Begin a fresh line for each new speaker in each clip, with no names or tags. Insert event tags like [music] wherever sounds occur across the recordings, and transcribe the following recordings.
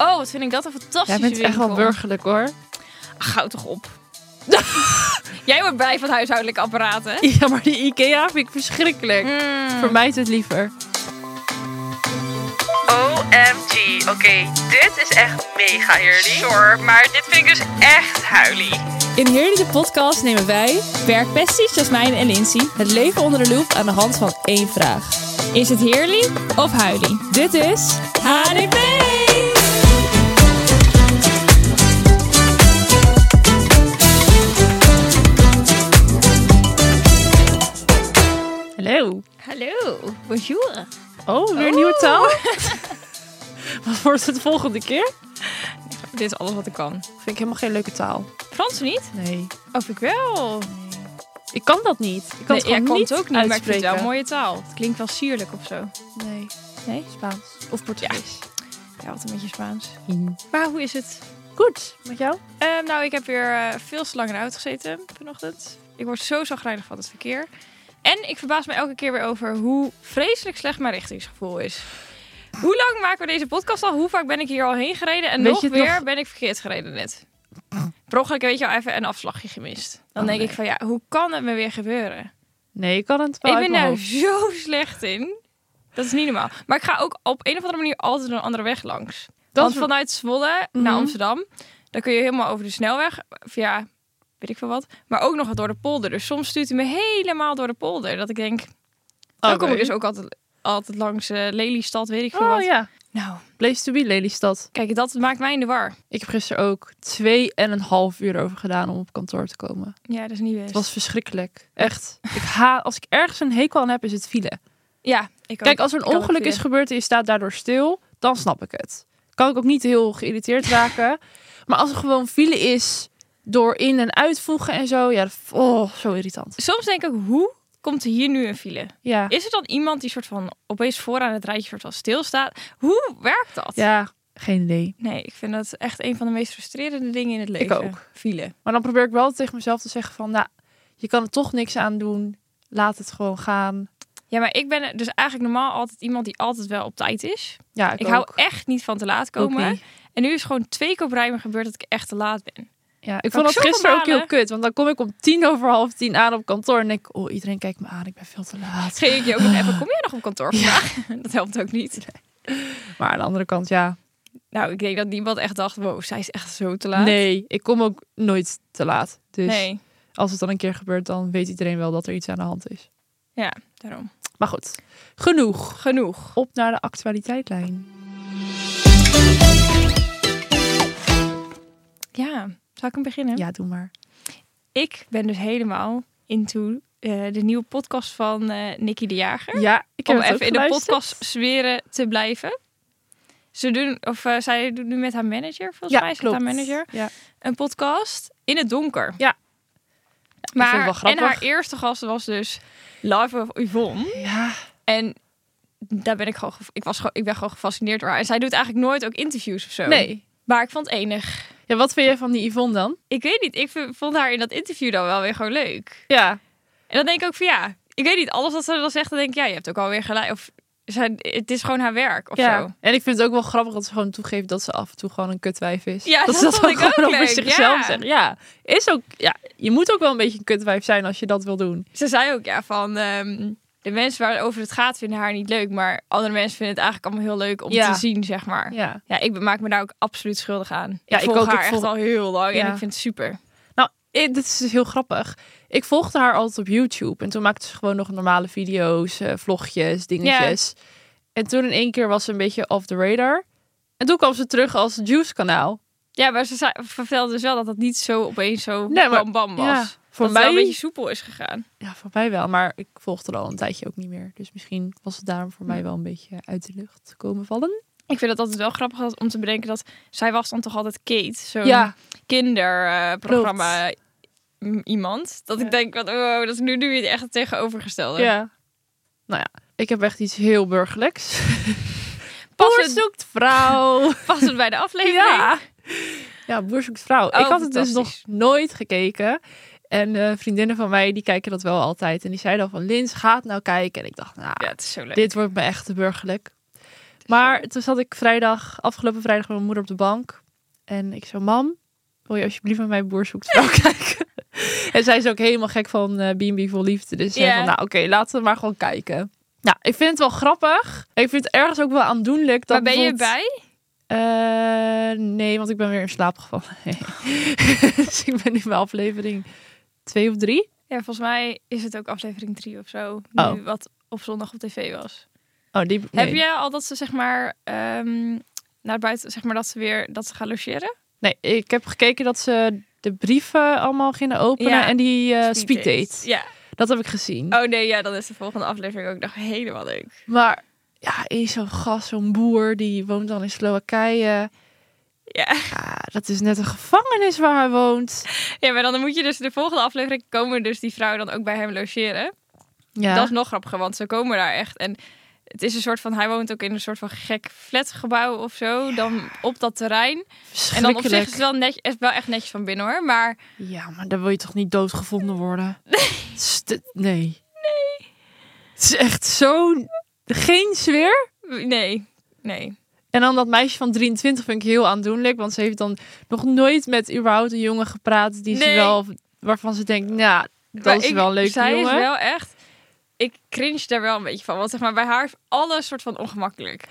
Oh, wat vind ik dat een
Jij
fantastische
bent echt wel
winkel.
burgerlijk hoor.
Ach, hou toch op. [laughs] Jij wordt blij van huishoudelijke apparaten. hè?
Ja, maar die Ikea vind ik verschrikkelijk.
Mm.
Vermijd het liever.
OMG. Oké, dit is echt mega eerlijk. Sorry, maar dit vind ik dus echt huilie.
In Heerlijke Podcast nemen wij, werkpesties Jasmijn en Lindsay, het leven onder de loep aan de hand van één vraag. Is het heerlijk of huilie? Dit is HDP!
Hallo.
Hallo, bonjour.
Oh, weer een nieuwe taal? [laughs] Wat wordt het volgende keer?
Dit is alles wat ik kan.
Vind ik helemaal geen leuke taal.
Frans niet?
Nee.
Of ik wel. Ik
Ik kan dat niet. Ik kan het
jij
gewoon
kan
niet
het ook niet, maar ik vind het wel een mooie taal. Het klinkt wel sierlijk of zo.
Nee.
Nee?
Spaans. Of Portugees.
Ja, wat een beetje Spaans.
Mhm.
Maar hoe is het?
Goed. Met jou?
Ehm, nou, ik heb weer eh, veel te lang in de auto gezeten vanochtend. Ik word zo zagrijnig van het verkeer. En ik verbaas me elke keer weer over hoe vreselijk slecht mijn richtingsgevoel is. Hoe lang maken we deze podcast al? Hoe vaak ben ik hier al heen gereden? En
Weet
nog
je het
weer
nog?
ben ik verkeerd gereden net. Per ongeluk, weet je wel, even een afslagje gemist. Dan
Oh,
denk
nee.
ik van, ja, hoe kan het me weer gebeuren?
Nee, ik kan het wel
ik
uit
ben
mijn
daar
hoofd.
zo slecht in. Dat is niet normaal. Maar ik ga ook op een of andere manier altijd een andere weg langs.
Dat
Want
is-
vanuit Zwolle
Mhm.
naar Amsterdam, dan kun je helemaal over de snelweg, via weet ik veel wat, maar ook nog wat door de polder. Dus soms stuurt hij me helemaal door de polder. Dat ik denk, dan kom
Oh, Oké.
ik dus ook altijd, altijd langs eh, Lelystad, weet ik veel
Oh
wat.
ja.
Nou,
Place to be Lelystad.
kijk, dat maakt mij in de war.
Ik heb gisteren ook twee en een half uur over gedaan om op kantoor te komen.
Ja, dat is niet best.
Het was verschrikkelijk. Echt. Ik ha als ik ergens een hekel aan heb, is het file.
Ja, ik ook.
Kijk, als er een
Ik kan ook
ongeluk is
file.
gebeurd en je staat daardoor stil, dan snap ik het. Kan ik ook niet heel geïrriteerd
[laughs]
raken. Maar als er gewoon file is door in- en uitvoegen en zo, ja, dat- oh, zo irritant.
Soms denk ik, hoe komt er hier nu een file?
Ja.
Is er dan iemand die soort van opeens vooraan het rijtje soort van stilstaat? Hoe werkt dat?
Ja, geen idee.
Nee, ik vind dat echt een van de meest frustrerende dingen in het
Ik
leven.
ook.
File.
Maar dan probeer ik wel tegen mezelf te zeggen van, nou, je kan er toch niks aan doen. Laat het gewoon gaan.
Ja, maar ik ben dus eigenlijk normaal altijd iemand die altijd wel op tijd is.
Ja, ik,
Ik, hou
ook.
echt niet van te laat
Ook
komen.
niet.
En nu is gewoon twee keer op rij me gebeurd dat ik echt te laat ben.
Ja,
Kan
ik vond
ik
dat
zo
gisteren ook heel
verbalen?
kut. Want dan kom ik om tien over half tien aan op kantoor. En denk ik, oh, iedereen kijkt me aan. Ik ben veel te laat.
Schreef ik je ook nog even, kom jij nog op kantoor vandaag? [laughs] Dat helpt ook niet.
[laughs] Maar aan de andere kant, ja.
Nou, ik denk dat niemand echt dacht, wow, zij is echt zo te laat.
Nee, ik kom ook nooit te laat. Dus
Nee,
als het dan een keer gebeurt, dan weet iedereen wel dat er iets aan de hand is.
daarom.
Maar goed, genoeg.
Genoeg.
Op naar de actualiteitlijn.
Ja, zal ik hem beginnen?
Ja, doe maar.
Ik ben dus helemaal into eh, de nieuwe podcast van eh Nicky de Jager.
Ja, ik heb
om
het
even
ook
in de
geluisterd.
podcast smeren te blijven. Ze doen, of eh, zij doet nu met haar manager, volgens mij is het haar manager,
Ja.
een podcast in het donker.
Ja.
Maar,
wel
en
grappig.
haar eerste gast was dus Live of Yvonne.
Ja,
En daar ben ik gewoon, ge- ik, was gewoon, ik ben gewoon gefascineerd door haar. En zij doet eigenlijk nooit ook interviews of zo.
nee.
Maar ik vond het enig.
Ja, wat vind jij van die Yvonne dan?
Ik weet niet, ik v- vond haar in dat interview dan wel weer gewoon leuk.
Ja,
En dan denk ik ook van ja, ik weet niet, alles wat ze dan zegt, dan denk ik ja, je hebt ook alweer gelijk. Of zij, het is gewoon haar werk of
ja.
zo.
En ik vind het ook wel grappig dat ze gewoon toegeeft dat ze af en toe gewoon een kutwijf is.
Ja,
dat
dat
ze dat
vond ik
gewoon
ook
over
leuk,
zichzelf
ja.
zegt. Ja, is ook, ja, je moet ook wel een beetje een kutwijf zijn als je dat wil doen.
Ze zei ook ja van ehm, de mensen waarover het gaat vinden haar niet leuk, maar andere mensen vinden het eigenlijk allemaal heel leuk om
Ja.
te zien, zeg maar. Ja.
Ja.
ik be- maak me daar ook absoluut schuldig aan.
Ja,
ik
ik
volg
ook, ik
haar echt
volg-
al heel lang en
Ja.
ik vind het super.
Nou, ik- dit is dus heel grappig. Ik volgde haar altijd op YouTube. En toen maakte ze gewoon nog normale video's, eh, vlogjes, dingetjes. En toen in één keer was ze een beetje off the radar. En toen kwam ze terug als Juice-kanaal.
Ja, maar ze zei, vertelde dus wel dat dat niet zo opeens zo
Nee, maar-
bam bam was.
Ja, voor
dat het wel
mij-
een beetje soepel is gegaan.
Ja, voor mij wel. Maar ik volgde haar al een tijdje ook niet meer. Dus misschien was het daarom voor mij wel een beetje uit de lucht komen vallen.
Ik vind het altijd wel grappig dat- om te bedenken dat zij was dan toch altijd Kate, zo'n
Ja,
kinderprogramma iemand. Dat ik denk, wat, wow, dat is nu, nu weer echt het tegenovergestelde. [laughs]
ja. Nou ja, ik heb echt iets heel [laughs] burgerlijks.
Pas
Boer
het-
zoekt vrouw.
Past het bij de aflevering?
[laughs] Ja. Ja, Boer zoekt vrouw.
Oh,
ik had het dus nog
fantastisch.
nooit gekeken. En eh, vriendinnen van mij, die kijken dat wel altijd. En die zeiden al van, Lins, gaat nou kijken. En ik dacht, nou,
Ja, het is zo leuk.
dit wordt me echt te burgerlijk. Maar toen zat ik vrijdag, afgelopen vrijdag met mijn moeder op de bank. En ik zei, mam, wil je alsjeblieft met mijn broer zoekt vrouw [laughs] kijken? en zij is ook helemaal gek van eh, B&B Vol Liefde. Dus zei
Ja.
van, nou oké, laten we maar gewoon kijken. Nou, ik vind het wel grappig. Ik vind het ergens ook wel aandoenlijk. Dat
Waar ben je
bijvoorbeeld-
bij?
Eh, nee, want ik ben weer in slaap gevallen. [laughs] dus ik ben nu bij aflevering twee of drie.
Ja, volgens mij is het ook aflevering 3 of zo.
Oh.
Nu wat op zondag op tv was.
Oh, die, nee.
Heb je al dat ze zeg maar ehm, naar buiten, zeg maar dat ze weer dat ze gaan logeren?
Nee, ik heb gekeken dat ze de brieven allemaal gingen openen
Ja,
en die eh
Speed
speed
date.
date.
Ja.
Dat heb ik gezien.
Oh nee, ja, dan is de volgende aflevering ook nog helemaal leuk.
Maar ja, is zo'n gast, zo'n boer, die woont dan in Slowakije.
Ja.
Ja, dat is net een gevangenis waar hij woont.
ja, maar dan moet je dus de volgende aflevering komen dus die vrouwen dan ook bij hem logeren.
Ja.
Dat is nog grappiger, want ze komen daar echt en het is een soort van, hij woont ook in een soort van gek flatgebouw of zo, dan op dat terrein. En dan op zich is het wel, net, is wel echt netjes van binnen hoor, maar
Ja, maar dan wil je toch niet doodgevonden
[laughs]
worden? St- Nee. nee. Het is echt zo... Geen sfeer.
nee, nee.
En dan dat meisje van 23 vind ik heel aandoenlijk. Want ze heeft dan nog nooit met überhaupt een jongen gepraat. Die ze
Nee.
wel, waarvan ze denkt, nou, dat
Maar
is
ik-
wel een leuke
zij
jongen.
is wel echt... Ik cringe daar wel een beetje van. Want zeg maar, bij haar is alles soort van ongemakkelijk.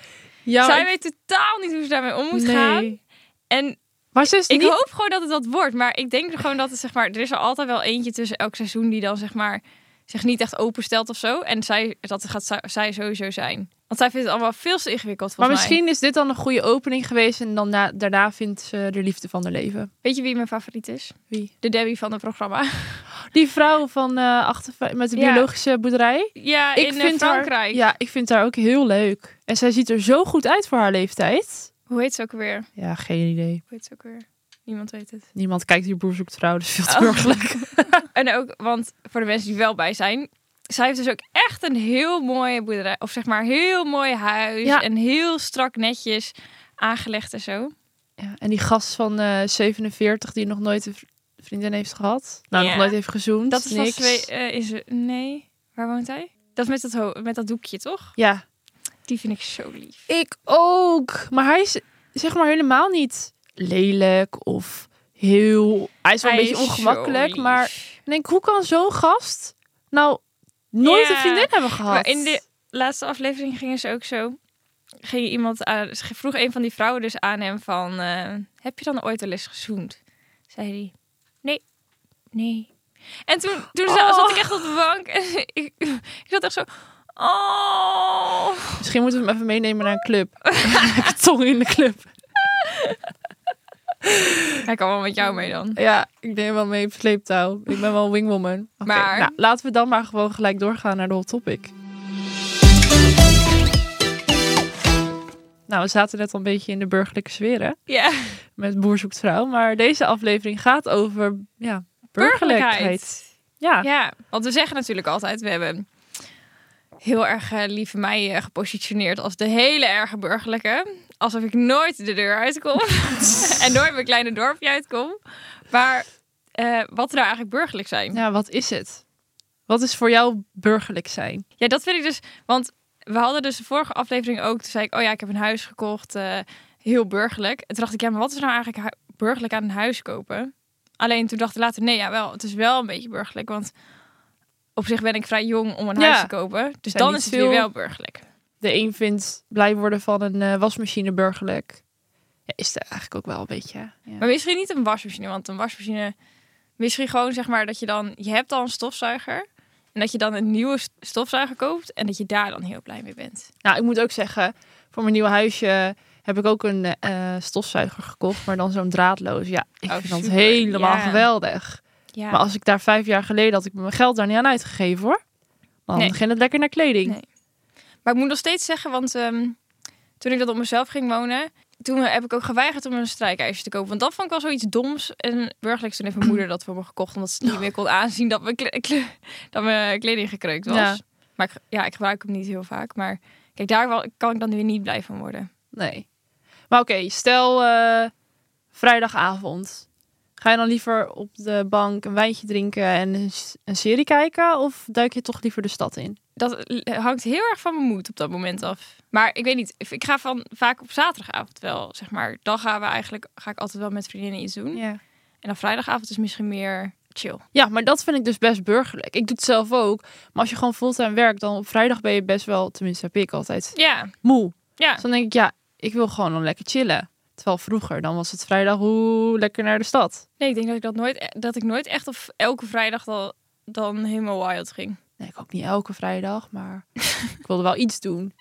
Ja,
zij
ik-
weet totaal niet hoe ze daarmee om moet
nee.
gaan. En
Maar ze is
ik
niet...
hoop gewoon dat het dat wordt. Maar ik denk gewoon dat het zeg maar... Er is er altijd wel eentje tussen elk seizoen die dan zeg maar... zich niet echt openstelt of zo. En zij, dat gaat zij- zij sowieso zijn. Want zij vindt het allemaal veel te ingewikkeld
Maar
volgens mij.
misschien is dit dan een goede opening geweest. En dan na- daarna vindt ze de liefde van haar leven.
Weet je wie mijn favoriet is?
Wie?
De Debbie van het programma.
Die vrouw van, eh, achter, met de
Ja.
biologische boerderij.
Ja,
ik
in eh,
vind
Frankrijk.
Haar, ja, ik vind haar ook heel leuk. En zij ziet er zo goed uit voor haar leeftijd.
Hoe heet ze ook weer? Hoe
Ja, geen idee.
heet ze ook weer? Niemand weet het.
Niemand kijkt hier Boer zoekt vrouw, dus veel te
Oh. [laughs]
burgerlijk.
En ook, want voor de mensen die wel bij zijn, zij heeft dus ook echt een heel mooie boerderij, of zeg maar heel mooi huis
Ja.
en heel strak netjes aangelegd en zo.
Ja, en die gast van eh, 47 die nog nooit een vri- vriendin heeft gehad. Nou,
Ja.
nog nooit heeft gezoend.
Dat is van
niks.
twee, eh, is nee, waar woont hij? Dat is met dat, ho- met dat doekje toch?
Ja,
Die vind ik zo lief.
ik ook. Maar hij is zeg maar helemaal niet lelijk of heel... Hij is wel een
Hij
beetje
is zo
ongemakkelijk,
lief.
maar ik denk, hoe kan zo'n gast nou nooit
Ja.
een vriendin hebben gehad?
Maar in de laatste aflevering gingen ze ook zo. Ging iemand aan, ze vroeg een van die vrouwen dus aan hem van... eh, heb je dan ooit wel eens gezoend? Zei hij, nee, nee. En toen, toen za-
Oh.
zat ik echt op de bank en [laughs] ik, ik zat echt zo... Oh,
Misschien moeten we hem even meenemen naar een club. [laughs] Lekker Tong in de club.
hij kan wel met jou mee dan.
Ja, ik neem wel mee op sleeptouw. Ik ben wel een wingwoman. Oké,
Maar-
nou, laten we dan maar gewoon gelijk doorgaan naar de hot topic. Nou, we zaten net al een beetje in de burgerlijke sfeer hè,
Ja,
met Boer zoekt vrouw. Maar deze aflevering gaat over ja, burgerlijkheid.
burgerlijkheid.
Ja.
Ja, want we zeggen natuurlijk altijd, we hebben heel erg eh, lieve mij eh, gepositioneerd als de hele erge burgerlijke. Alsof ik nooit de deur uitkom en nooit mijn kleine dorpje uitkom. Maar eh, wat nou eigenlijk burgerlijk zijn?
ja, wat is het? Wat is voor jou burgerlijk zijn?
Ja, dat vind ik dus, want we hadden dus de vorige aflevering ook, toen zei ik, oh ja, ik heb een huis gekocht, eh, heel burgerlijk. En toen dacht ik, ja, maar wat is nou eigenlijk hu- burgerlijk aan een huis kopen? Alleen toen dacht ik later, nee, ja, wel, het is wel een beetje burgerlijk, want op zich ben ik vrij jong om een
Ja.
huis te kopen. Dus
Zijn
dan
niet
is het weer
veel-
wel burgerlijk.
De een vindt blij worden van een eh, wasmachine burgerlijk. Ja, is er eigenlijk ook wel een beetje. hè? Ja.
Maar misschien niet een wasmachine, want een wasmachine, misschien gewoon zeg maar dat je dan, je hebt al een stofzuiger. En dat je dan een nieuwe s- stofzuiger koopt en dat je daar dan heel blij mee bent.
Nou, ik moet ook zeggen, voor mijn nieuwe huisje heb ik ook een eh, stofzuiger gekocht, maar dan zo'n draadloos. Ja, ik
Oh,
vind dat
super,
helemaal
ja.
geweldig.
Ja.
Maar als ik daar vijf jaar geleden had ik mijn geld daar niet aan uitgegeven hoor. Dan
Nee.
ging het lekker naar kleding.
Nee. Maar ik moet nog steeds zeggen, want ehm, toen ik dat op mezelf ging wonen, toen heb ik ook geweigerd om een strijkijsje te kopen. Want dat vond ik wel zoiets doms en burgerlijks. Toen heeft mijn moeder dat voor me gekocht, omdat ze niet meer kon aanzien dat mijn, kle- kle- dat mijn kleding gekreukt was.
Ja.
Maar ik, ja, ik gebruik hem niet heel vaak. Maar kijk, daar wel- kan ik dan weer niet blij van worden.
Nee. Maar oké, stel eh, vrijdagavond. Ga je dan liever op de bank een wijntje drinken en een, s- een serie kijken? Of duik je toch liever de stad in?
Dat l- hangt heel erg van mijn moed op dat moment af. Maar ik weet niet, ik ga van vaak op zaterdagavond wel, zeg maar. Dan gaan we eigenlijk, ga ik altijd wel met vriendinnen iets doen.
Ja.
En dan vrijdagavond is misschien meer chill.
ja, maar dat vind ik dus best burgerlijk. Ik doe het zelf ook. Maar als je gewoon fulltime werkt, dan op vrijdag ben je best wel, tenminste heb ik altijd,
Ja,
moe.
ja.
Dus dan denk ik, ja, ik wil gewoon dan lekker chillen. Terwijl vroeger, dan was het vrijdag, hoe lekker naar de stad.
Nee, ik denk dat ik dat nooit, e-, dat ik nooit echt op elke vrijdag dan, dan helemaal wild ging.
Nee, ik ook niet elke vrijdag, maar ik wilde wel iets doen.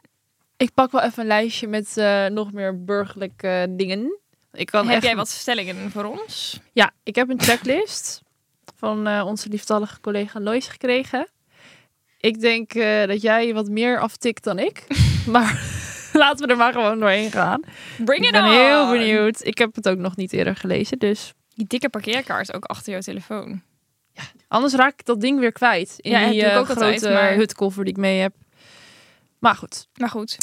Ik pak wel even een lijstje met eh, nog meer burgerlijke dingen. Ik kan
Heb
echt...
jij wat stellingen voor ons?
Ja, ik heb een checklist van eh, onze lieftallige collega Lois gekregen. Ik denk eh, dat jij wat meer aftikt dan ik.
[laughs]
maar [laughs] laten we er maar gewoon doorheen gaan.
Bring it
Ik ben
on!
heel benieuwd. Ik heb het ook nog niet eerder gelezen, dus...
Die dikke parkeerkaart ook achter jouw telefoon.
Anders raak ik dat ding weer kwijt. In
Ja, dat
die
doe ik
eh,
ook
grote
altijd, maar-
hutkoffer die ik mee heb. Maar goed.
Maar goed,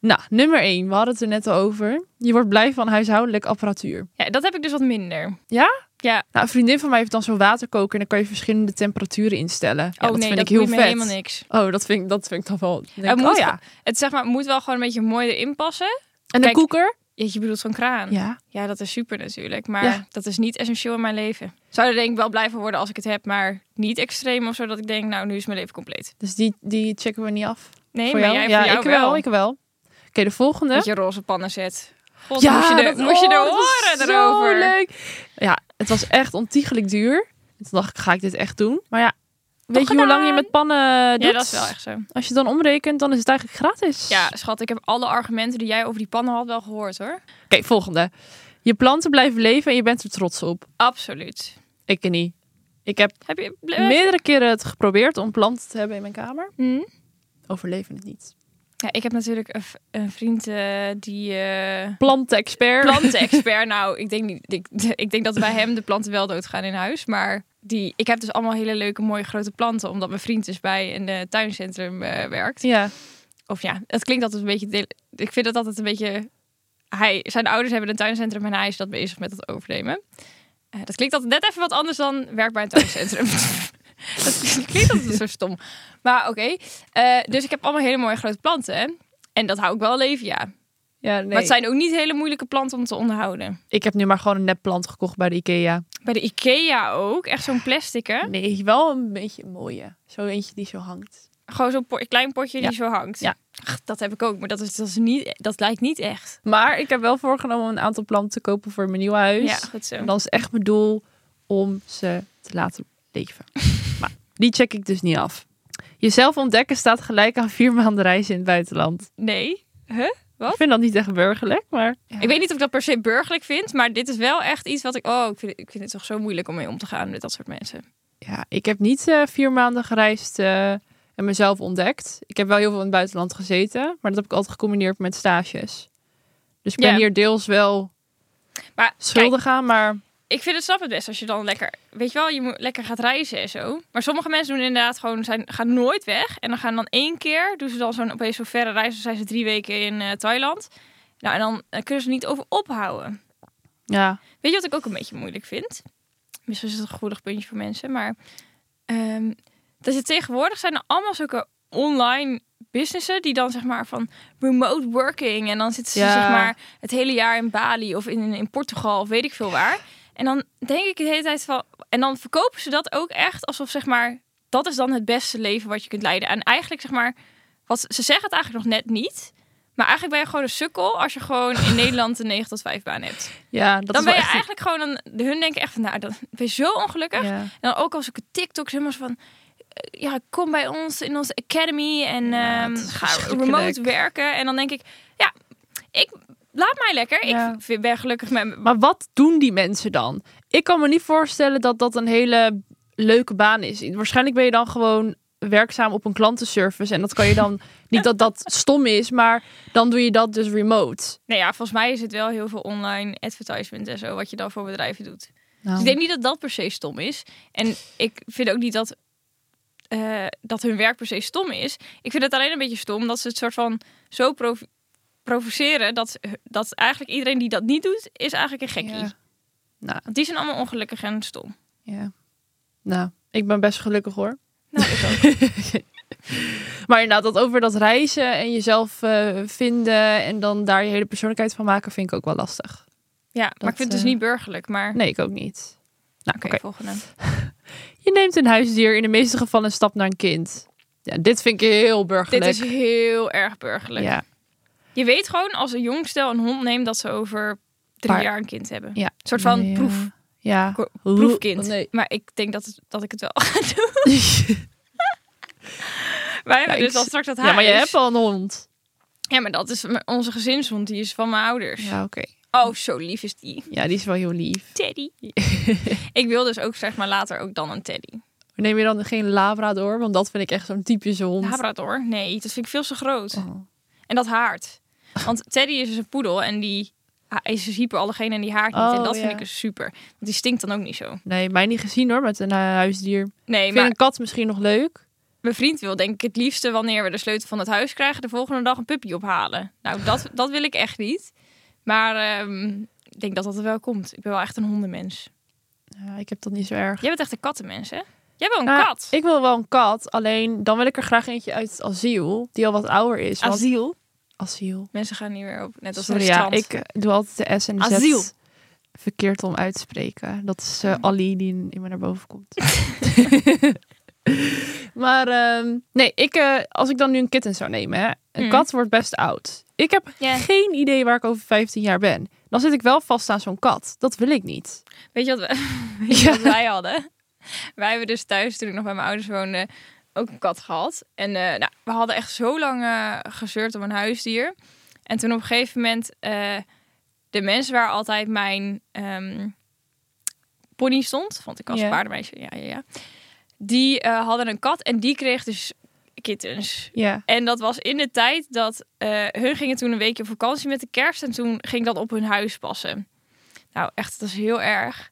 Nou, nummer 1. We hadden het er net al over. Je wordt blij van huishoudelijke apparatuur.
ja, dat heb ik dus wat minder.
Ja?
Ja.
Nou, een vriendin van mij heeft dan zo'n waterkoker... en dan kan je verschillende temperaturen instellen. Ja,
oh
dat
nee,
vind
dat
ik heel
doet me
vet.
helemaal niks.
Oh, dat vind ik, dat vind ik dan wel... denk
Het
ik,
moet
oh ja.
ge- Het zeg maar, moet wel gewoon een beetje mooi erin passen.
En
Kijk,
een koeker?
Je, je bedoelt zo'n kraan. Ja.
Ja.
dat is super natuurlijk. Maar
Ja.
dat is niet essentieel in mijn leven. Zou er denk ik wel blij van worden als ik het heb, maar niet extreem of zo. Dat ik denk, nou, nu is mijn leven compleet.
Dus die, die checken we niet af.
Nee,
voor
maar
jou?
jij
ja,
voor jou
ik wel. Ik wel. Oké, de volgende.
Dat je roze pannen zet. God, moest je de,
dat-
moest je de
oh, dat
horen
is zo
erover.
leuk. Ja, het was echt ontiegelijk duur. En toen dacht ik, ga ik dit echt doen? Maar ja, weet je hoe lang je
gedaan.
met pannen doet?
Ja, dat is wel echt zo.
Als je het dan omrekent, dan is het eigenlijk gratis.
Ja,
Oké,
schat, ik heb alle argumenten die jij over die pannen had wel gehoord hoor.
volgende. Je planten blijven leven en je bent er trots op.
Absoluut.
Ik niet. Ik heb
Heb je... eh,
meerdere keren het geprobeerd om planten te hebben in mijn kamer.
Hm?
Overleven het niet.
Ja, ik heb natuurlijk een, v- een vriend eh, die eh,
Plantenexpert.
plantenexpert. [laughs] nou, ik denk, niet, ik, ik denk dat bij hem de planten wel doodgaan in huis. Maar die, ik heb dus allemaal hele leuke, mooie grote planten. Omdat mijn vriend dus bij een eh, tuincentrum eh, werkt.
ja.
Of ja, het klinkt altijd een beetje... dele- Ik vind dat altijd een beetje... Hij, zijn ouders hebben een tuincentrum en hij is dat bezig met het overnemen. Eh, dat klinkt altijd net even wat anders dan werk bij een
[laughs]
tuincentrum. dat klinkt altijd zo stom. Maar oké. Eh, dus ik heb allemaal hele mooie grote planten. En dat hou ik wel leven, ja.
ja nee.
Maar het zijn ook niet hele moeilijke planten om te onderhouden.
Ik heb nu maar gewoon een nepplant gekocht bij de Ikea.
Bij de Ikea ook. Echt zo'n plastic, hè?
Nee, wel een beetje een mooie. Zo eentje die zo hangt.
Gewoon zo'n po- klein potje
Ja.
die zo hangt.
Ja.
Ach, dat heb ik ook, maar dat, is, dat, is niet, dat lijkt niet echt.
Maar ik heb wel voorgenomen om een aantal planten te kopen voor mijn nieuwe huis.
Ja, goed zo.
En Dus dan is echt mijn doel om ze te laten leven. [laughs] maar die check ik dus niet af. Jezelf ontdekken staat gelijk aan vier maanden reizen in het buitenland.
Nee. Wat?
Ik vind dat niet echt burgerlijk, maar...
Ik weet niet of ik dat per se burgerlijk vind, maar dit is wel echt iets wat ik. Oh, ik vind, ik vind het toch zo moeilijk om mee om te gaan met dat soort mensen.
Ja, ik heb niet eh, vier maanden gereisd eh, en mezelf ontdekt. Ik heb wel heel veel in het buitenland gezeten, maar dat heb ik altijd gecombineerd met stages. Dus ik ben
Ja.
hier deels wel
Maar
schuldig aan, maar
kijk, ik vind het snap het best als je dan lekker, weet je wel, je moet lekker gaat reizen en zo. Maar sommige mensen doen inderdaad gewoon, zijn, gaan nooit weg en dan gaan dan één keer, doen ze dan zo'n opeens zo'n verre reis, dan zijn ze drie weken in eh, Thailand. Nou, en dan eh, kunnen ze er niet over ophouden.
ja.
Weet je wat ik ook een beetje moeilijk vind? Misschien is het een gevoelig puntje voor mensen, maar ehm, dat je tegenwoordig zijn er allemaal zulke online businessen die dan zeg maar van remote working en dan zitten ze
Ja.
zeg maar het hele jaar in Bali of in, in Portugal of weet ik veel waar. En dan denk ik de hele tijd van en dan verkopen ze dat ook echt alsof zeg maar dat is dan het beste leven wat je kunt leiden. En eigenlijk zeg maar wat ze- ze zeggen het eigenlijk nog net niet. Maar eigenlijk ben je gewoon een sukkel als je gewoon in Nederland een 9 tot 5 baan hebt
Ja, dat
dan
is wel
ben je
echt...
eigenlijk gewoon aan de hun denken echt van, nou, dan ben je zo ongelukkig.
Ja.
En dan ook als ik TikToks helemaal zo van, eh, ja, kom bij ons in onze academy en
Ja,
ehm,
het is
ga
verschrikkelijk.
remote werken. En dan denk ik, ja, ik laat mij lekker.
Ja.
Ik vind- ben gelukkig met mijn-
Maar wat doen die mensen dan? Ik kan me niet voorstellen dat dat een hele leuke baan is. Waarschijnlijk ben je dan gewoon werkzaam op een klantenservice. En dat kan je
[laughs]
dan... niet dat dat stom is, maar dan doe je dat dus remote.
Nou ja, volgens mij is het wel heel veel online advertisement en zo wat je dan voor bedrijven doet. Dus
Nou.
ik denk niet dat dat per se stom is. En ik vind ook niet dat, eh, dat hun werk per se stom is. Ik vind het alleen een beetje stom dat ze het soort van zo prov- provoceren dat, dat eigenlijk iedereen die dat niet doet, is eigenlijk een gekkie.
Ja. Nou,
Want die zijn allemaal ongelukkig en stom.
ja. Nou, ik ben best gelukkig hoor.
Nou, ik ook.
Maar inderdaad, dat over dat reizen en jezelf eh, vinden en dan daar je hele persoonlijkheid van maken, vind ik ook wel lastig.
Ja, maar ik vind het dus
eh,
niet burgerlijk, maar...
Nee, ik ook niet. Nou, oké.
Oké, volgende.
Je neemt een huisdier in de meeste gevallen een stap naar een kind. Ja, dit vind ik heel burgerlijk.
Dit is heel erg burgerlijk.
ja.
Je weet gewoon als een jong stel een hond neemt dat ze over drie
Paar-
jaar een kind hebben.
Ja.
Een soort van
Nee, ja.
proef,
Ja.
ko-
Hoe-
proefkind.
Oh, Nee.
Maar ik denk dat, het- dat ik het wel [laughs] ga doen. Wij hebben
ik
dus al
s-
straks dat huis.
[laughs] ja, maar je hebt al een hond.
Ja, maar dat is m- onze gezinshond. Die is van mijn ouders.
Ja, oké.
Oh, zo lief is die.
Ja, die is wel heel lief. [laughs]
Teddy. ik wil dus ook zeg maar later ook dan een teddy.
Neem je dan geen labrador? Want dat vind ik echt zo'n typische hond.
Labrador? Nee, dat vind ik veel te groot.
Oh.
En dat haart. Want Teddy is dus een poedel en die hij is dus hyperallergeen en die haart niet. en
Oh,
dat
ja.
vind ik dus super. Want die stinkt dan ook niet zo.
Nee, mij niet gezien hoor, met een eh, huisdier. Ik
Nee,
vind
maar
een kat misschien nog leuk.
mijn vriend wil denk ik het liefste wanneer we de sleutel van het huis krijgen... de volgende dag een puppy ophalen. Nou, dat, [laughs] dat wil ik echt niet. Maar ehm, ik denk dat dat er wel komt. Ik ben wel echt een hondenmens.
Ja, ik heb dat niet zo erg.
Jij bent echt een kattenmens, hè? Jij wil een
Nou,
kat.
Ik wil wel een kat, alleen dan wil ik er graag eentje uit het asiel, die al wat ouder is. want-
Asiel.
Asiel.
Mensen gaan niet meer op, net als
Sorry,
een
ja,
strand.
ik eh, doe altijd de S en de Z
Asiel.
verkeerd om uit te spreken. Dat is eh, Ali die in, in me naar boven komt. [laughs] maar ehm, nee, ik, eh, als ik dan nu een kitten zou nemen, hè, een
Mm.
kat wordt best oud. Ik heb
Ja.
geen idee waar ik over 15 jaar ben. Dan zit ik wel vast aan zo'n kat. Dat wil ik niet.
Weet je wat, we- [laughs] weet je wat wij hadden? Wij hebben dus thuis, toen ik nog bij mijn ouders woonde, ook een kat gehad. En eh, nou, we hadden echt zo lang eh, gezeurd om een huisdier. En toen op een gegeven moment, eh, de mensen waar altijd mijn ehm, pony stond, want ik was
Ja.
paardenmeisje, ja, ja, ja. Die eh, hadden een kat en die kreeg dus kittens.
Ja.
En dat was in de tijd dat eh, hun gingen toen een weekje op vakantie met de kerst. En toen ging ik dat op hun huis passen. Nou, echt, dat is heel erg.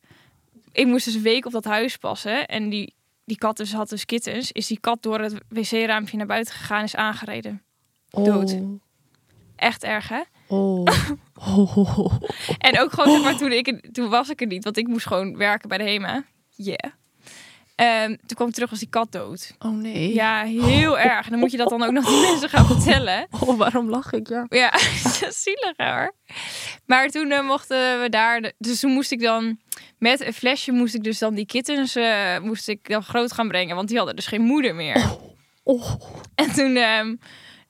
Ik moest dus een week op dat huis passen. En die, die kat dus had dus kittens. Is die kat door het wc-raampje naar buiten gegaan en is aangereden. Dood. Echt erg, hè?
Oh. Oh.
[laughs]
oh, oh.
En ook gewoon, zeg maar, toen, ik, er- toen was ik er niet. Want ik moest gewoon werken bij de HEMA. Yeah. Ehm, toen kwam ik terug als die kat dood.
Oh, nee.
Ja, heel erg. En dan moet je dat dan ook nog de mensen gaan vertellen.
Oh, waarom lach ik? Ja.
Ja, [laughs] dat is zielig hoor. Maar toen eh, mochten we daar, de- dus toen moest ik dan met een flesje moest ik dus dan die kittens eh, moest ik dan groot gaan brengen, want die hadden dus geen moeder meer.
Oh.
En toen, ehm,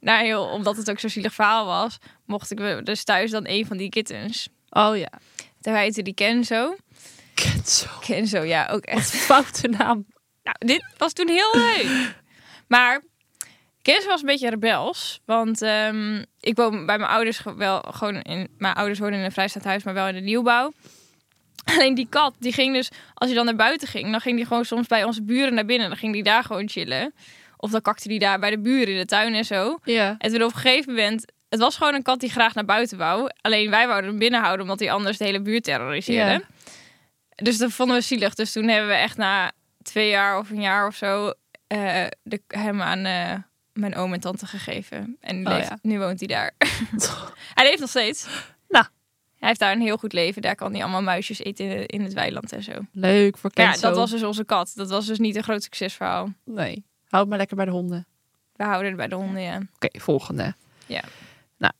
nou joh, omdat het ook zo'n zielig verhaal was, mocht ik we- dus thuis dan een van die kittens.
Oh ja.
Daar heette die Kenzo.
Kenzo.
Kenzo, ja, ook echt.
Foute naam.
Nou, dit was toen heel leuk. Maar Kees was een beetje rebels. Want ehm, ik woon bij mijn ouders ge- wel gewoon in. Mijn ouders wonen in een vrijstaand huis, maar wel in de nieuwbouw. [laughs] Alleen die kat, die ging dus, als hij dan naar buiten ging, dan ging die gewoon soms bij onze buren naar binnen. Dan ging die daar gewoon chillen. Of dan kakte die daar bij de buren in de tuin en zo.
Ja.
En toen op een gegeven moment, het was gewoon een kat die graag naar buiten wou. Alleen wij wouden hem binnen houden, omdat hij anders de hele buurt terroriseerde.
Ja.
Dus dat vonden we zielig. Dus toen hebben we echt na twee jaar of een jaar of zo eh, de, hem aan eh, mijn oom en tante gegeven. En die
Oh,
leeft-
ja.
nu woont hij daar. [laughs] hij leeft nog steeds.
Nou.
Hij heeft daar een heel goed leven. Daar kan hij allemaal muisjes eten in, in het weiland en zo.
Leuk voor
Maar
Kenzo.
Ja, dat was dus onze kat. Dat was dus niet een groot succesverhaal.
Nee. Houd maar lekker bij de honden.
We houden het bij de honden, ja.
Oké, volgende.
Ja.
Nou.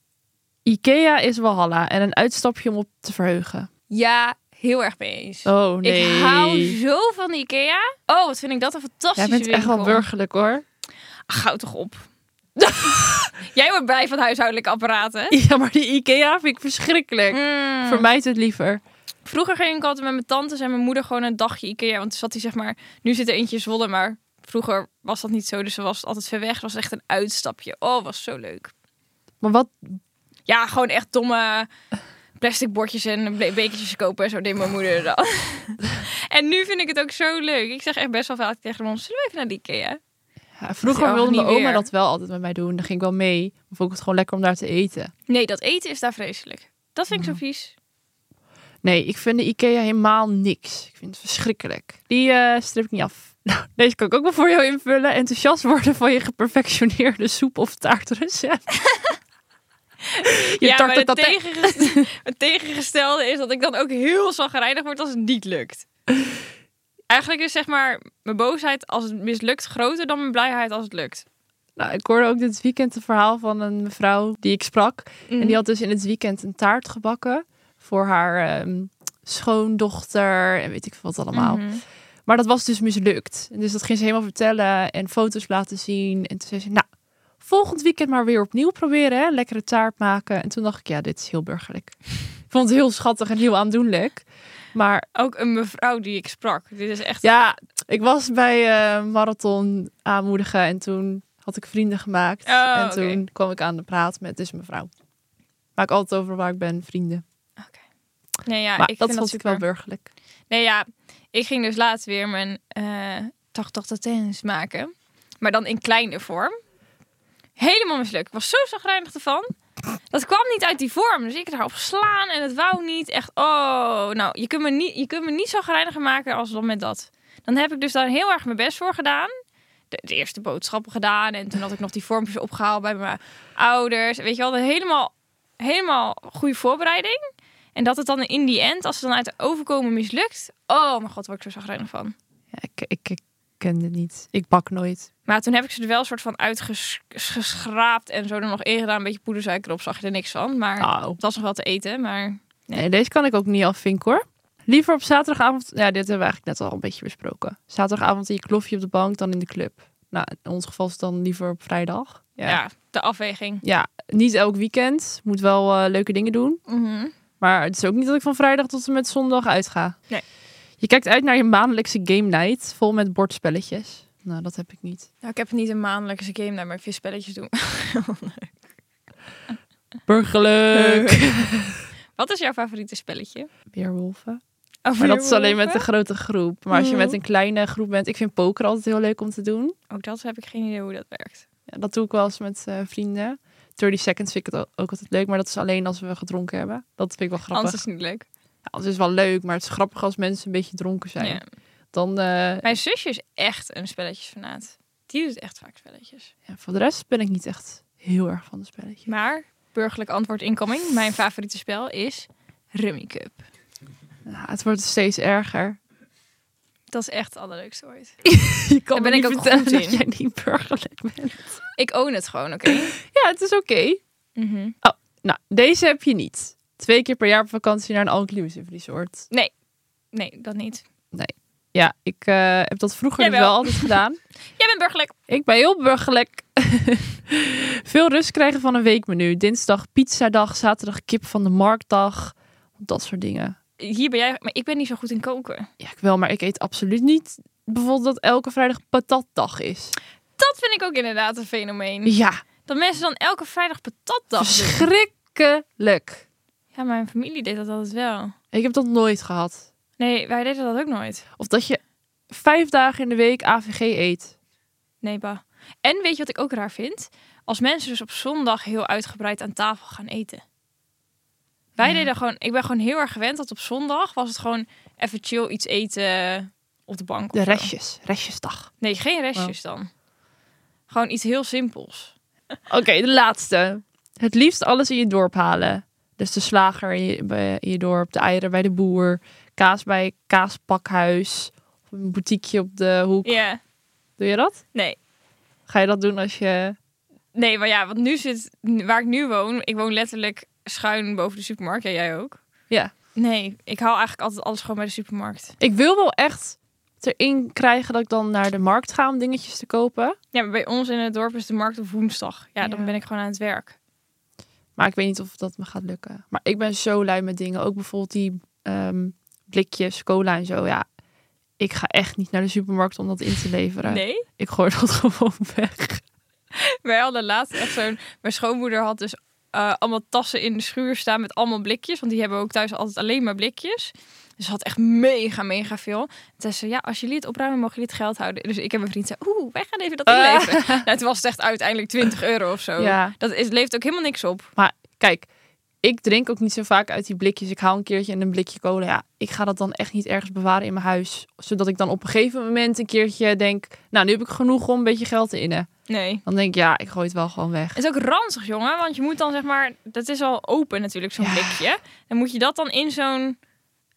Ikea is Walhalla en een uitstapje om op te verheugen.
Ja, heel erg mee eens.
Oh nee.
Ik hou zo van de Ikea. Oh, wat vind ik dat een
Jij
fantastische
bent echt wel
winkel.
burgerlijk hoor.
[laughs] Ach, hou toch op. [laughs] Jij wordt blij van huishoudelijke apparaten.
Ja, maar die Ikea vind ik verschrikkelijk.
Mm.
Vermijd het liever.
Vroeger ging ik altijd met mijn tantes en mijn moeder gewoon een dagje Ikea. Want toen zat hij zeg maar... Nu zit er eentje in Zwolle, maar vroeger was dat niet zo. Dus ze was altijd ver weg. Het was echt een uitstapje. Oh, was zo leuk.
Maar wat?
Ja, gewoon echt domme plastic bordjes en be- bekertjes kopen. en Zo deed mijn moeder dan. [laughs] en nu vind ik het ook zo leuk. Ik zeg echt best wel vaak tegen ons, zullen we even naar de Ikea?
Ja, vroeger
Oh,
wilde
niet
mijn oma
weer.
dat wel altijd met mij doen. Dan ging ik wel mee. Maar vond ik het gewoon lekker om daar te eten.
Nee, dat eten is daar vreselijk. Dat vind ik
Mm.
zo vies.
Nee, ik vind de Ikea helemaal niks. Ik vind het verschrikkelijk. Die eh strip ik niet af. [laughs] Nou, deze kan ik ook wel voor jou invullen. Enthousiast worden van je geperfectioneerde soep
[laughs]
of taartrecept. je
ja, maar het,
tartetat- [laughs]
tegengestelde, het tegengestelde is dat ik dan ook heel zagrijnig word als het niet lukt. Eigenlijk is zeg maar mijn boosheid als het mislukt groter dan mijn blijheid als het lukt.
Nou, ik hoorde ook dit weekend een verhaal van een mevrouw die ik sprak.
Mhm.
En die had dus in het weekend een taart gebakken voor haar ehm, schoondochter en weet ik veel wat allemaal.
Mhm.
Maar dat was dus mislukt. En dus dat ging ze helemaal vertellen en foto's laten zien. En toen zei ze, nou, volgend weekend maar weer opnieuw proberen. Hè? Lekkere taart maken. En toen dacht ik, ja, dit is heel burgerlijk. Ik vond het heel schattig en heel aandoenlijk. Maar
Ook een mevrouw die ik sprak. Dit is echt...
ja, ik was bij eh, marathon aanmoedigen en toen had ik vrienden gemaakt.
Oh,
en toen
oké.
kwam ik aan de praat met dus mevrouw. Maak altijd over waar ik ben, vrienden.
Nee, ja,
maar
ik
dat
vind
vond
dat
ik wel
super.
burgerlijk.
Nee, ja, ik ging dus laatst weer mijn eh 80 tattoos maken. Maar dan in kleine vorm. Helemaal mislukt. Ik was zo zagrijnig ervan. Dat kwam niet uit die vorm. Dus ik daarop slaan en het wou niet. Echt, oh, nou, je kunt me niet, je kunt me niet zo maken als dan met dat. Dan heb ik dus daar heel erg mijn best voor gedaan. De, de eerste boodschappen gedaan. En toen had ik nog die vormpjes opgehaald bij mijn ouders. Weet je wel, dat helemaal, helemaal goede voorbereiding. En dat het dan in die end, als het dan uit de overkomen mislukt. Oh mijn god, word ik zo zagrijnig van.
Ja, ik, ik, ik ken dit niet. Ik bak nooit.
Maar toen heb ik ze er wel soort van uitgeschraapt en zo er nog in gedaan. Een beetje poedersuiker op, zag je er niks van. Maar
Au.
het was nog wel te eten. Maar Nee.
Nee, deze kan ik ook niet afvinken hoor. Liever op zaterdagavond. Ja, dit hebben we eigenlijk net al een beetje besproken. Zaterdagavond in je klofje op de bank dan in de club. Nou, in ons geval is het dan liever op vrijdag.
ja, de afweging.
ja niet elk weekend. Moet wel eh, leuke dingen doen.
Mhm.
Maar het is ook niet dat ik van vrijdag tot en met zondag uitga.
Nee.
Je kijkt uit naar je maandelijkse game night vol met bordspelletjes. Nou, dat heb ik niet.
Nou, ik heb niet een maandelijkse game naar, maar ik vind spelletjes doen. [laughs]
Burgerlijk.
Wat is jouw favoriete spelletje?
[laughs] Weerwolven.
Oh,
Maar dat is alleen met
weerwolven?
een grote groep. Maar als je
Mhm.
met een kleine groep bent, ik vind poker altijd heel leuk om te doen.
Ook dat heb ik geen idee hoe dat werkt.
Ja, dat doe ik wel eens met eh, vrienden. 30 seconds vind ik het ook altijd leuk, maar dat is alleen als we gedronken hebben. Dat vind ik wel grappig.
Anders
Anders
is het niet leuk.
ja, anders is wel leuk, maar het is grappig als mensen een beetje dronken zijn.
Ja.
Dan, eh,
Mijn zusje is echt een spelletjesfanaat. Die doet echt vaak spelletjes.
ja, voor de rest ben ik niet echt heel erg van de spelletje.
Maar, burgerlijk antwoord incoming, mijn favoriete spel is Rummy Cup.
Ja, het wordt steeds erger.
Dat is echt het allerleukste ooit.
[laughs] Je
Daar ben
kan me niet
ik ook
vertellen
goed
dat
in.
jij niet burgerlijk bent.
Ik own het gewoon, oké?
Ja, het is oké.
Mhm.
Nou, deze heb je niet. Twee keer per jaar op vakantie naar een all-inclusive resort.
Nee, dat niet.
Ja, ik eh, heb dat vroeger dus
Jawel.
wel altijd gedaan.
Jij bent burgerlijk.
Ik ben heel burgerlijk. [laughs] Veel rust krijgen van een weekmenu. Dinsdag pizzadag, zaterdag kip van de marktdag. Dat soort dingen.
Hier ben jij, maar ik ben niet zo goed in koken.
Ja, ik wel, maar ik eet absoluut niet bijvoorbeeld dat elke vrijdag patatdag is.
Dat vind ik ook inderdaad een fenomeen.
Ja,
Mm, Dat mensen dan elke vrijdag patatdag doen.
[laughs] verschrikkelijk.
Ja, mijn familie deed dat altijd wel.
Ik heb dat nooit gehad.
Nee, wij deden dat ook nooit.
Of dat je vijf dagen in de week AVG eet.
Nee, bah. En weet je wat ik ook raar vind? Als mensen dus op zondag heel uitgebreid aan tafel gaan eten. Wij deden gewoon, ik ben gewoon heel erg gewend dat op zondag was het gewoon even chill iets eten op de bank.
De
of zo.
restjes, restjesdag.
Nee, geen restjes dan. Gewoon iets heel simpels.
Oké, de laatste. Het liefst alles in je dorp halen. Dus de slager in je, bij- in je dorp, de eieren bij de boer, kaas bij kaaspakhuis, of een boutiqueje op de hoek.
Ja.
Doe je dat?
Nee.
Ga je dat doen als je...
Nee, maar ja, want nu zit, waar ik nu woon, ik woon letterlijk schuin boven de supermarkt. Ja, jij ook?
Ja.
Nee, ik haal eigenlijk altijd alles gewoon bij de supermarkt.
Ik wil wel echt het erin krijgen dat ik dan naar de markt ga om dingetjes te kopen.
Ja, maar bij ons in het dorp is de markt op woensdag. Ja,
Ja.
dan ben ik gewoon aan het werk.
Maar ik weet niet of dat me gaat lukken. Maar ik ben zo lui met dingen. Ook bijvoorbeeld die ehm, blikjes, cola en zo. Ja, ik ga echt niet naar de supermarkt om dat in te leveren.
Nee?
Ik gooi dat [laughs] gewoon weg.
Wij hadden laatst echt zo'n... Mijn schoonmoeder had dus eh, allemaal tassen in de schuur staan met allemaal blikjes. Want die hebben ook thuis altijd alleen maar blikjes. Dus ze had echt mega, mega veel. Toen zei ze, ja, als jullie het opruimen, mogen jullie het geld houden. Dus ik en mijn vriend zei, oeh, wij gaan even dat inleveren. [laughs] Nou, toen was het echt uiteindelijk 20 euro of zo.
Ja.
Dat is, leeft ook helemaal niks op.
Kijk, ik drink ook niet zo vaak uit die blikjes. Ik haal een keertje en een blikje cola. Ja, ik ga dat dan echt niet ergens bewaren in mijn huis. Zodat ik dan op een gegeven moment een keertje denk... Nou, nu heb ik genoeg om een beetje geld te innen.
Nee.
Dan denk ik, ja, ik gooi het wel gewoon weg.
Het is ook ranzig, jongen. Want je moet dan zeg maar... Dat is al open natuurlijk, zo'n
Ja.
blikje. Dan moet je dat dan in zo'n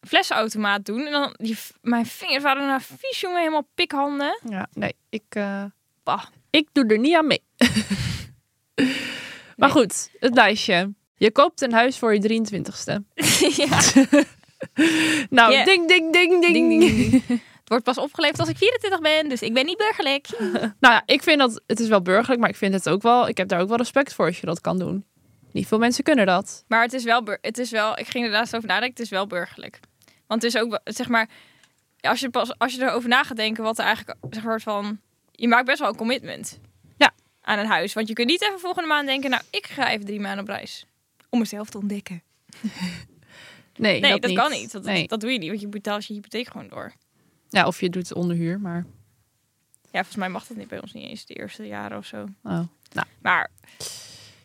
flessenautomaat doen. En dan... Die, mijn vingers
[laughs]
waren nou vies, jongen. Helemaal pikhanden.
Ja, nee, ik, eh,
Bah.
ik doe er niet aan mee. [laughs] Maar goed, het lijstje. Je koopt een huis voor je 23ste.
ja.
Nou,
Ja.
ding, ding, ding, ding.
Ding, ding, ding. Het wordt pas opgeleverd als ik 24 ben, dus ik ben niet burgerlijk.
[laughs] Nou ja, ik vind dat, het is wel burgerlijk, maar ik vind het ook wel, ik heb daar ook wel respect voor als je dat kan doen. Niet veel mensen kunnen dat.
Maar het is wel, bur- het is wel ik ging er laatst over nadenken, het is wel burgerlijk. Want het is ook, wel- zeg maar, als je, pas, als je erover na gaat denken, wat er eigenlijk, zeg maar, van, je maakt best wel een commitment
Ja.
aan een huis. Want je kunt niet even volgende maand denken, nou, ik ga even drie maanden op reis. Om mezelf te ontdekken.
Nee,
Nee,
dat,
dat, kan niet. Dat, dat-
Nee.
dat doe je niet, want je betaalt je hypotheek gewoon door.
Ja, of je doet onderhuur, maar...
Ja, volgens mij mag dat niet bij ons niet eens de eerste jaren of zo.
Oh. Nou,
Maar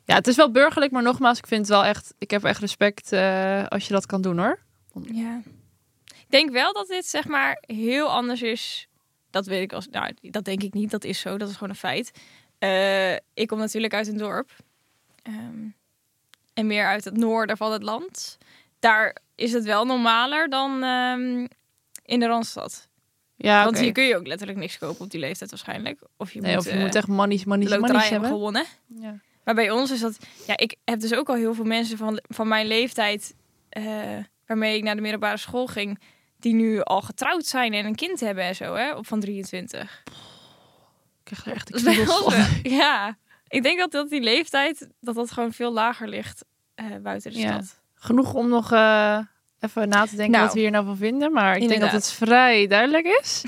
ja, het is wel burgerlijk, maar nogmaals, ik vind het wel echt, ik heb echt respect eh, als je dat kan doen hoor.
Ja. Ik denk wel dat dit zeg maar heel anders is. Dat weet ik als. Nou, dat denk ik niet. Dat is zo. Dat is gewoon een feit. Eh, ik kom natuurlijk uit een dorp. Ehm, en meer uit het noorden van het land. Daar is het wel normaler dan ehm, in de Randstad.
Ja,
Want
oké.
hier kun je ook letterlijk niks kopen op die leeftijd waarschijnlijk. Of je
Nee,
moet,
of je
eh,
moet echt money's, money's,
loterij
money's
hebben
hebben.
gewonnen.
Ja.
Maar bij ons is dat... Ja, ik heb dus ook al heel veel mensen van, van mijn leeftijd... eh, waarmee ik naar de middelbare school ging... die nu al getrouwd zijn en een kind hebben en zo, hè? Op van 23.
Ik krijg
[laughs]
er echt
Dat is
een
bij
kriebels
ons
van.
wel- eh, Ja. Ik denk dat, dat die leeftijd... dat dat gewoon veel lager ligt eh, buiten de
Ja.
stad.
Genoeg om nog eh, even na te denken
Nou.
wat we hier nou van vinden, maar ik denk dat
Inderdaad.
het vrij duidelijk
[laughs]
is.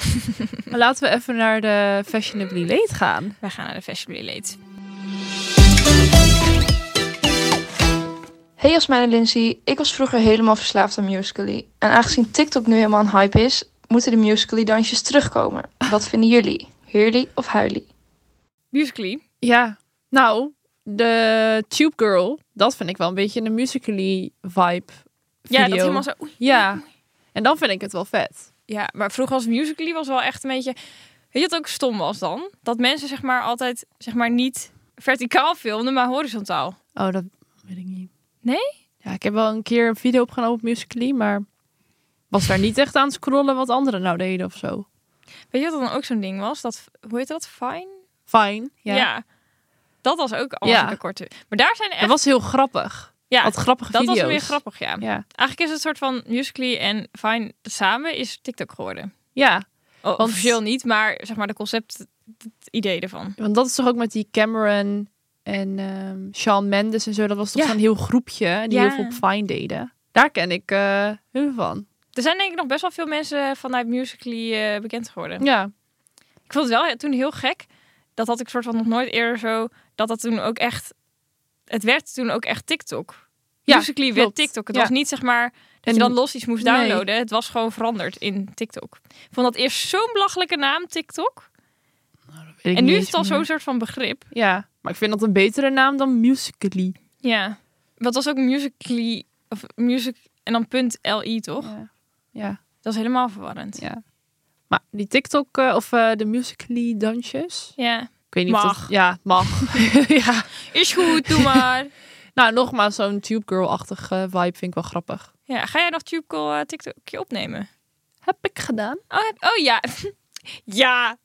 maar laten we even naar de fashionably late gaan.
Wij gaan naar de Fashionably Late.
Hey Jasmijn en Lindsay, ik was vroeger helemaal verslaafd aan Musical.ly. En aangezien TikTok nu helemaal een hype is, moeten de Musical.ly dansjes terugkomen. Wat vinden jullie? Heerly of huilie?
Musically.
Ja, nou, de Tube Girl, dat vind ik wel een beetje een musically vibe. Video.
Ja, dat helemaal zo... oei.
Ja, en dan vind ik het wel vet.
Ja, maar vroeger als Musically was wel echt een beetje... Weet je wat ook stom was dan? Dat mensen zeg maar altijd zeg maar niet verticaal filmden, maar horizontaal.
Oh, dat weet ik niet.
Nee?
Ja, ik heb wel een keer een video opgenomen op musically, maar was daar niet echt aan het scrollen wat anderen nou deden of zo.
Weet je wat dan ook zo'n ding was? Dat, hoe heet dat? Fine?
Fijn, ja.
Dat was ook allemaal
Ja.
ja. korte. Maar daar zijn
Dat
echt...
was heel grappig.
ja,
Had grappige
dat
video's.
was weer grappig, ja.
Ja,
Eigenlijk is het soort van Musical.ly en Fine samen is TikTok geworden.
ja
O,
Want-
Officieel niet, maar zeg maar de concept, het idee ervan.
want dat is toch ook met die Cameron en ehm Shawn Mendes en zo. Dat was toch
Ja.
zo'n heel groepje die
Ja.
heel veel op Fine deden. Daar ken ik eh hun van.
Er zijn denk ik nog best wel veel mensen vanuit Musical.ly eh, bekend geworden.
Ja,
Ik vond het wel toen heel gek. Dat had ik soort van nog nooit eerder zo. Dat dat toen ook echt. Het werd toen ook echt TikTok.
Ja,
Musical.ly werd
klopt.
TikTok. Het
Ja.
was niet zeg maar dat
En-
je dan los iets moest
Nee.
downloaden. Het was gewoon veranderd in TikTok. Ik vond dat eerst zo'n belachelijke naam, TikTok.
Weet ik
En
niet
nu is
eens
het al
meer.
zo'n soort van begrip.
Ja, maar ik vind dat een betere naam dan Musical.ly.
Ja. Wat was ook Musical.ly of music en dan punt .li toch?
Ja. ja.
Dat is helemaal verwarrend.
Ja. Maar die TikTok eh, of eh, de Musical.ly dansjes?
Ja.
Ik weet niet of
Mag.
dat... Ja, het mag. [laughs] ja.
Is goed,
[laughs]
doe maar.
Nou, nogmaals, zo'n Tube Girl-achtig eh, vibe vind ik wel grappig.
ja, ga jij nog TubeCall eh, TikTokje opnemen?
Heb ik gedaan.
Oh, heb- oh ja. [laughs] ja.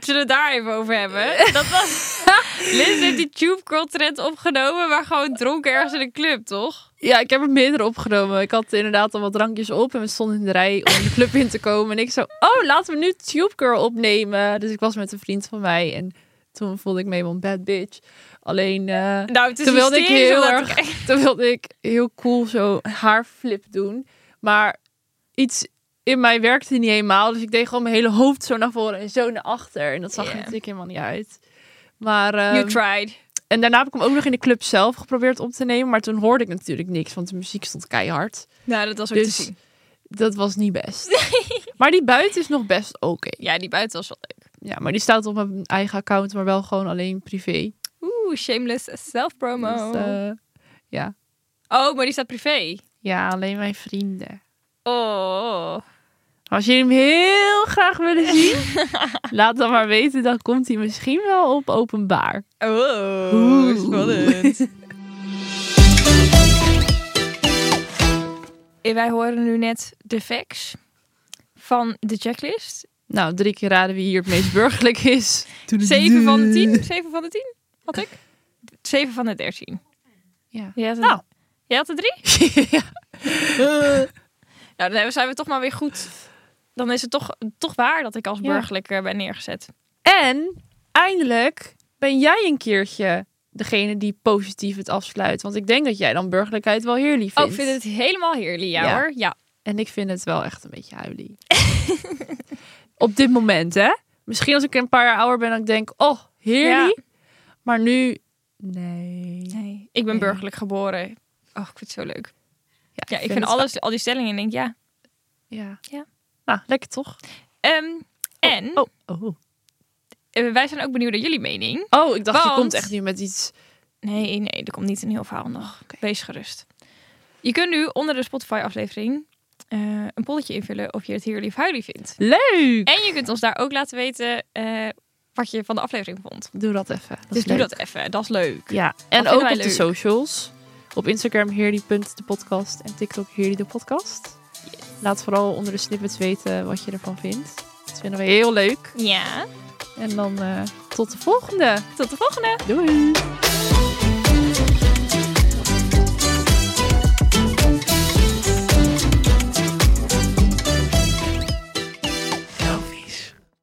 Zullen we het daar even over hebben? Dat was... [laughs] Liz heeft die Tube Girl trend opgenomen, maar gewoon dronken ergens in een club, toch?
Ja, ik heb er meerdere opgenomen. Ik had inderdaad al wat drankjes op en we stonden in de rij om de club in te komen. En ik zo, oh, laten we nu Tube Girl opnemen. Dus ik was met een vriend van mij en toen voelde ik me helemaal een bad bitch. Alleen... eh,
Nou, het is
Toen wilde ik
hysterisch,
heel
omdat
erg-
ik
[laughs]
echt-
Toen wilde ik heel cool zo haarflip doen. Maar iets in mij werkte niet helemaal. Dus ik deed gewoon mijn hele hoofd zo naar voren en zo naar achter. En dat zag er
Ja.
natuurlijk helemaal niet uit. Maar, ehm,
You tried.
en daarna heb ik hem ook nog in de club zelf geprobeerd op te nemen. Maar toen hoorde ik natuurlijk niks, want de muziek stond keihard.
Nou, dat was ook
Dus
te zien.
dat was niet best.
[laughs]
maar die buiten is nog best oké.
Ja, die buiten was wel leuk.
Ja, maar die staat op mijn eigen account, maar wel gewoon alleen privé.
Oeh, shameless self-promo.
Dus, eh,
Oh, maar die staat privé.
ja, alleen mijn vrienden.
Oh.
Als jullie hem heel graag
[laughs]
willen zien, laat dan maar weten. Dan komt hij misschien wel op openbaar.
Oh, spannend. En Wij horen nu net de facts van de checklist.
Nou, drie keer raden wie hier het meest burgerlijk is.
7 van de 10. 7 van de 10? Had ik? 7 van de 13.
Ja. [laughs]
Jij had een-
Nou.
Jij had er drie?
ja.
Nou, dan hebben- zijn we toch maar weer goed. Dan is het toch, toch waar dat ik als
Ja.
burgerlijk eh, ben neergezet.
En eindelijk ben jij een keertje degene die positief het afsluit. Want ik denk dat jij dan burgerlijkheid wel heerlijk vindt.
Oh, ik vind het helemaal heerlijk, ja,
Ja.
hoor. Ja.
En ik vind het wel echt een beetje huilie. [laughs] Op dit moment, hè? Misschien als ik een paar jaar ouder ben, dan denk ik, oh, heerlijk. Maar nu, nee.
Nee. Ik ben
Ja.
burgerlijk geboren. Oh, ik vind het zo leuk. Ja, ik vind,
het-
alles, al die stellingen en denk ja.
Ja.
Ja.
Nou, lekker toch?
Ehm, en
Oh, oh.
eh, wij zijn ook benieuwd naar jullie mening.
oh ik dacht, je
Want-
komt echt nu met iets.
Nee, nee, er komt niet een heel verhaal nog. Wees gerust. Je kunt nu onder de Spotify-aflevering eh, een polletje invullen of je het heerlijk of huilie vindt.
Leuk!
En je kunt ons daar ook laten weten eh, wat je van de aflevering vond.
Doe dat even. Dat is
dus doe
leuk.
dat even, dat is leuk.
Ja, en
vinden
ook op
wij
de
leuk.
socials. Op Instagram heerly.depodcast en TikTok heerly de podcast. Laat vooral onder de snippets weten wat je ervan vindt. Dat vinden we heel leuk.
Ja,
En dan eh, tot de volgende.
tot de volgende!
Doei!